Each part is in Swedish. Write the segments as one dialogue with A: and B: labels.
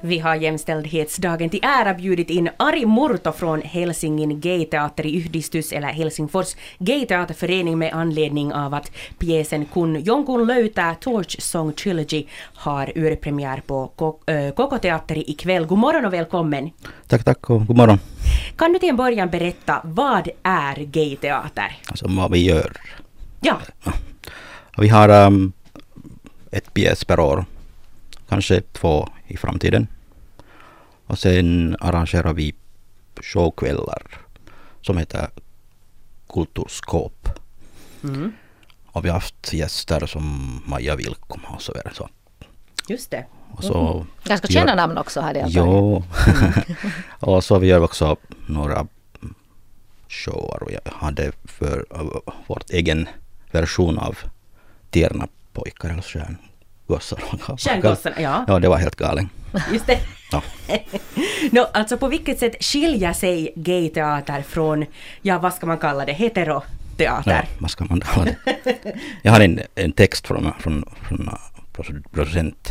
A: Vi har jämställdhetsdagen till ära bjudit in Ari Murto från Helsingin Gayteater i Yhdistys eller Helsingfors Gayteaterförening med anledning av att pjäsen Kun jonkun löytää Torch Song Trilogy har urpremiär på KK Teater ikväll. God morgon och välkommen!
B: Tack, tack och god morgon.
A: Kan du till en början berätta, vad är gayteater?
B: Alltså vad vi gör.
A: Ja,
B: Vi har um, ett pjäs per år, kanske två i framtiden. Och sen arrangerar vi showkvällar som heter Kulturskåp.
A: Mm.
B: Och vi har haft gäster som Maja Vilkoma och så vidare. Så.
A: just det.
B: Och så
C: Ganska
B: vi gör-
C: kända namn också här i alla fall.
B: Jo. och så vi gör också några shower. Jag hade för äh, vårt egen version av Tierna pojkar eller stjärngossar.
A: Stjärngossarna, ja.
B: Ja, det var helt galen.
A: Just det.
B: Ja.
A: No, alltså på vilket sätt skiljer sig gayteater från, ja vad ska man kalla det,
B: Ja,
A: heteroteater?
B: vad ska man kalla det? Jag har en, en text från, från, från äh, produ- producent.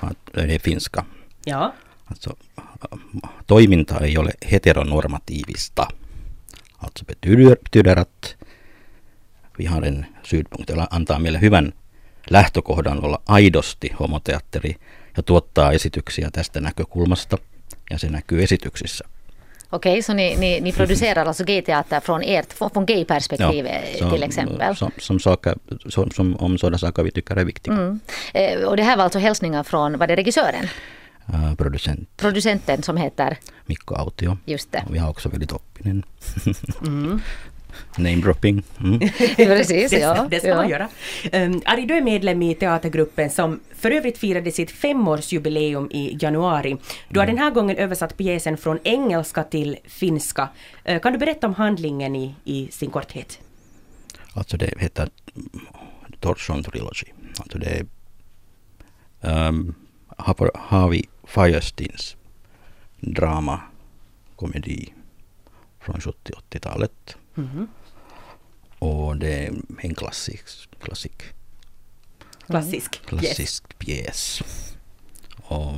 B: Att Det är finska.
A: Ja.
B: Alltså, äh, toiminta ei ole heteronormatiivista. Alltså betyder, betyder att vi har en synpunkt, jolla antaa meille hyvän lähtökohdan olla aidosti homoteatteri ja tuottaa esityksiä tästä näkökulmasta ja se näkyy esityksissä.
C: Okej, så ni, ni, ni producerar alltså gayteater från ert, från, från gayperspektivet
B: som-
C: eh, till exempel?
B: eh, Som, som, saker, som, som om sådana saker vi tycker är viktiga.
C: Mm. Eh, Och det här var alltså hälsningar från, var det regissören?
B: Äh, producent
C: Producenten som heter,
B: Mikko Autio.
C: just det. Mm.
B: Och Vi har också väldigt oppinen. Name dropping. Mm.
C: Precis,
A: det,
C: ja.
A: det ska
C: ja.
A: man göra. Um, Ari, du är medlem i teatergruppen som för övrigt firade sitt femårsjubileum i januari. Du har den här gången översatt pjäsen från engelska till finska. Eh, kan du berätta om handlingen i, i sin korthet?
B: Alltså det heter Torsion Trilogy. Alltså det är, ehm, har, har vi Firestins drama, komedi från 70-80-talet.
A: Mhm.
B: Och det är en klassisk, klassik,
A: Klassisk. pjäs.
B: klassisk pjäs. Och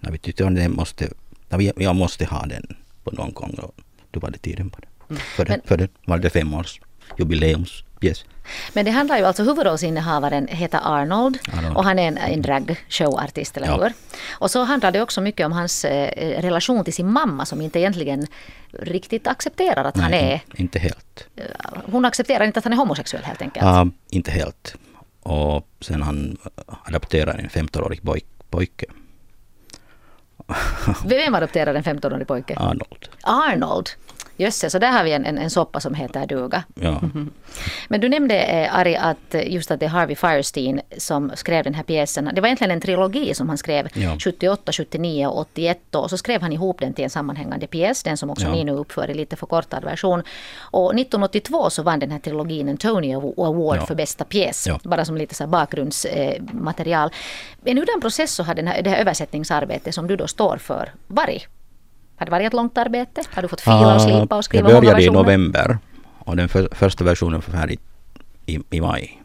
B: när vi tyckte om den måste, när vi, jag måste ha den på någon gång. Och då var det tiden på det. För, det,
C: Men-
B: för det var det femårs jubileumspjäs.
C: Men det handlar ju alltså, huvudrollsinnehavaren heter Arnold,
B: Arnold.
C: och han är en, en dragshowartist, eller
B: Ja.
C: hur? Och så handlar det också mycket om hans eh, relation till sin mamma som inte egentligen riktigt accepterar att han är,
B: in- Inte helt.
C: hon accepterar inte att han är homosexuell helt enkelt.
B: Ja, inte helt. Och sen han adopterar en 15-årig poj- pojke,
C: Vem adopterar en 15-årig pojke?
B: Ah. Arnold.
C: Arnold. Jösses, så där har vi en, en, en soppa som heter duga.
B: Ja,
C: Mhm. Men du nämnde eh, Ari att eh, just att det är Harvey Firestein som skrev den här pjäsen. Det var egentligen en trilogi som han skrev
B: Ja.
C: 78, 79 och 81 då. och så skrev han ihop den till en sammanhängande pjäs, den som också
B: Ja.
C: ni nu uppför i lite förkortad version. Och 1982 så vann den här trilogin en Tony Award
B: Ja.
C: för bästa pjäs,
B: Ja.
C: bara som lite så här bakgrundsmaterial. Men hur den process så har den här, det här översättningsarbetet som du då står för varit? Har det varit ett långt arbete? Har du fått fila och slipa och skriva
B: Ah,
C: många
B: Jag började i
C: versioner?
B: november och den för, första versionen var färdig i, i maj.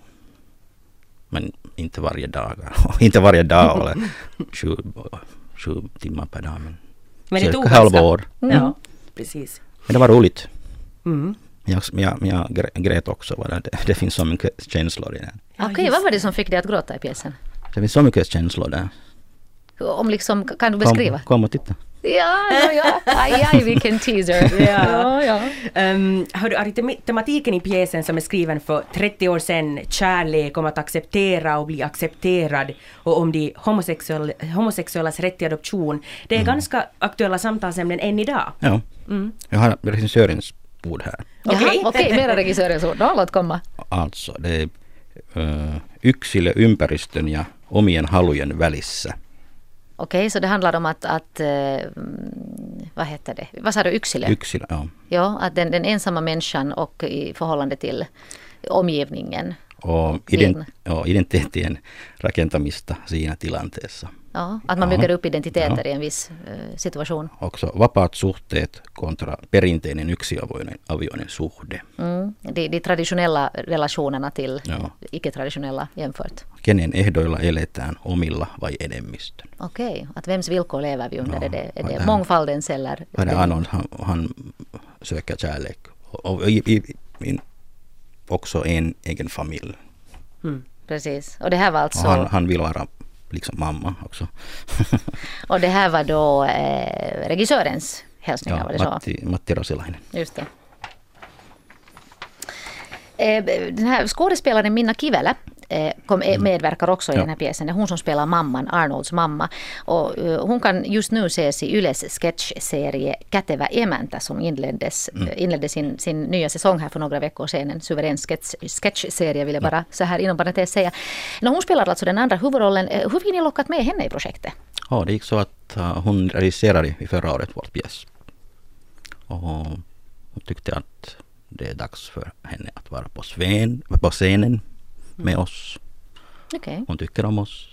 B: Men inte varje dag. inte varje dag eller sju, sju timmar per dag. Men,
A: Men det
B: cirka
A: tog ganska-
B: halvår.
A: Ja, precis.
B: Men det var roligt.
A: Mm.
B: Jag, jag, jag grä- grät också. bara Det, det finns så mycket känslor i den.
A: Ja,
C: Okej, vad var det som fick dig att gråta i pjäsen?
B: Det finns så mycket känslor där.
C: Om liksom, kan
B: Kom,
C: du beskriva?
B: kom och titta.
C: Ja, ja, ja. Aj, aj, vilken teaser.
A: Ja.
C: ja, ja.
A: Um, hördu, Ari, tem- tematiken i pjäsen som är skriven för 30 år sedan, kärlek, om att acceptera och bli accepterad och om de homosexuell, homosexuellas rätt till adoption, det är
B: Mm.
A: ganska aktuella samtalsämnen än idag.
B: Ja. Jag har regissörens ord här.
C: Jaha,
A: Okej.
C: okej, mera regissörens ord. No, låt komma.
B: Alltså, det är ö, yksilö ympäristön ja omien halujen välissä.
C: Okej, så det handlar om att, att eh, mm, vad heter det, vad sa du, yksilö?
B: Yksilö, ja.
C: ja, att den, den ensamma människan och i förhållande till omgivningen.
B: Och
C: Niin.
B: ident- ja, identiteettien rakentamista siinä tilanteessa.
C: Ja, att man
B: Ja.
C: bygger upp identiteter
B: Ja.
C: i en viss eh, situation.
B: Också vapaat suhteet kontra perinteinen yksiavioinen avioinen suhde.
C: Mm. De, de traditionella relationerna till
B: Joo.
C: icke-traditionella jämfört.
B: Kenen ehdoilla eletään, omilla vai enemmistön?
C: Okej, att vems villkor lever vi under?
B: Ja,
C: Är det, är
B: vad
C: det
B: det-
C: mångfaldens eller?
B: Vad det han, han, han söker kärlek och i, i, i, också en egen familj.
C: Precis. Och det här var
B: Och
C: alltså...
B: han, han vill vara liksom mamma också.
C: Och det här var då eh, regissörens hälsningar, var det så?
B: Matti, Matti Rasilainen.
C: Just det. Eh, Den här skådespelaren Minna Kivelä eh, kom, eh, medverkar också i
B: Ja.
C: den här pjäsen. Det är hon som spelar mamman, Arnolds mamma. Och eh, hon kan just nu ses i Yles sketchserie Kätevä emäntä som inleddes, eh, inledde sin, sin nya säsong här för några veckor sedan. En suverän sketch, sketchserie vill jag bara så här inom parentes säga. No, hon spelar alltså den andra huvudrollen. Eh, Hur fick ni lockat med henne i projektet?
B: Ja, det gick så att äh, hon regisserade i förra året vår pjäs. Och hon tyckte att det är dags för henne att vara på, Sven, på scenen med oss.
C: Okej.
B: Hon tycker om oss.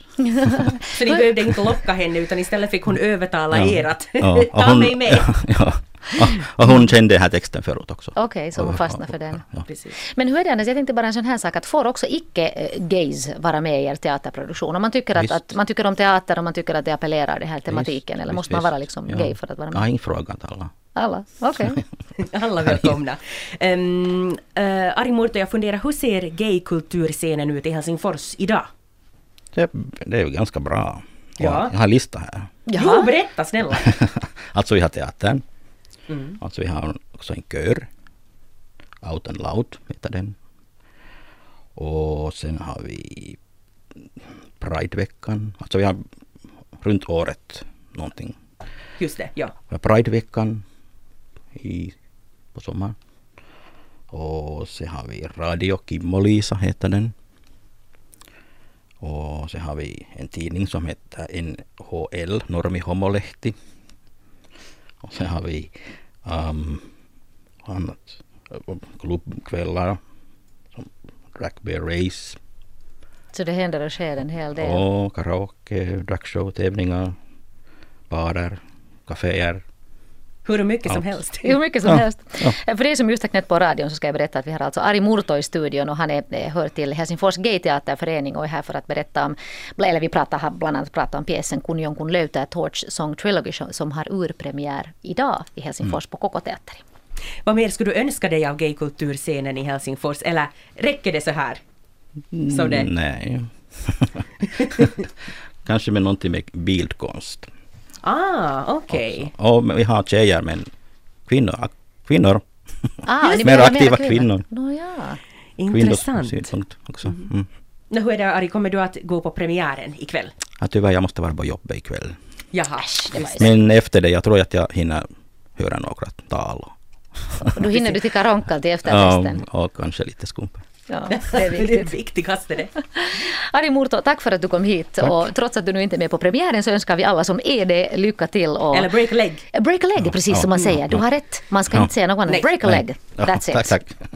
A: Så ni behövde inte locka henne utan istället fick hon övertala er att
B: Ja, och
A: ta mig med.
B: Ja, ja. Och hon kände den här texten förut också.
C: Okej, så hon
B: Och-
C: fastnade
B: och-
C: för den.
B: Ja.
A: Precis.
C: Men hur är det Anders, jag tänkte bara en sån här sak att får också icke-gays vara med i er teaterproduktion? Om man tycker, att,
B: Visst.
C: att, man tycker om teater och man tycker att det appellerar den här tematiken eller
B: Visst,
C: måste
B: visst,
C: man vara
B: visst.
C: liksom
B: Ja.
C: gay för att vara
B: Jag har
C: med?
B: inte frågat alla.
C: Alla? Okej.
A: Alla välkomna. Um, uh, Ari Murto, jag funderar, hur ser gaykulturscenen ut i Helsingfors idag?
B: Det, det är ju ganska bra. Jag,
A: Ja.
B: jag har en lista här.
A: Jo, berätta snälla.
B: alltså vi har teatern.
A: Mm.
B: Alltså vi har också en kör. Out and Loud heter den. Och sen har vi Prideveckan. Alltså vi har runt året någonting.
A: Just det, ja.
B: Vi har Prideveckan i, på sommaren. Och sen har vi Radio Kimmo-Lisa heter den. Och sen har vi en tidning som heter NHL, Normi Homolehti. Och sen har vi um, annat, um, klubbkvällar, som Dragbear Race
C: Så det händer och sker en hel del.
B: och karaoke, dragshow, tävlingar, barer, kaféer.
A: Hur mycket som
B: Allt.
A: helst.
C: Hur mycket som
B: Ja,
C: helst. Eh,
B: ja.
C: För det som just har knäppt på radion så ska jag berätta att vi har alltså Ari Murto i studion och han är, eh, hör till Helsingfors Gayteaterförening och är här för att berätta om, eller vi pratar, har bland annat pratat om pjäsen Kun jonkun löytää Torch Song Trilogy som- som har urpremiär idag i Helsingfors
B: Mm.
C: på Koko Teatteri.
A: Vad mer skulle du önska dig av gaykulturscenen i Helsingfors? Eller räcker det så här? Så det,
B: Mm, Nej. Kanske med någonting med bildkonst.
A: Ah, okej.
B: Och vi har tjejer men kvinnor, kvinnor.
C: Ah,
B: Mer
C: ni vill ha
B: aktiva kvinnor.
C: Nåja.
A: Intressant.
B: synpunkt också. Mm.
A: No, hur är det Ari, kommer du att gå på premiären ikväll?
B: Ja, tyvärr, jag måste vara på jobbet ikväll.
A: Jaha.
C: Äsch, det var ju-
B: Men efter det, jag tror att jag hinner höra några tal.
C: Då hinner du till karonkan till efterfesten.
B: Ja, och kanske lite skumpa.
C: Ja, det är
A: Det är
C: viktigt.
A: viktigaste det.
C: Ari Murto, tack för att du kom hit. Och trots att du nu inte är med på premiären så önskar vi alla som är det lycka till. Och
A: Eller break a leg.
C: break a leg, precis som man
B: Ja.
C: säger. Du har rätt. Man ska
B: Ja.
C: inte säga något annat.
A: Nej.
C: Break a leg.
B: Ja,
C: That's it.
B: Tack, tack.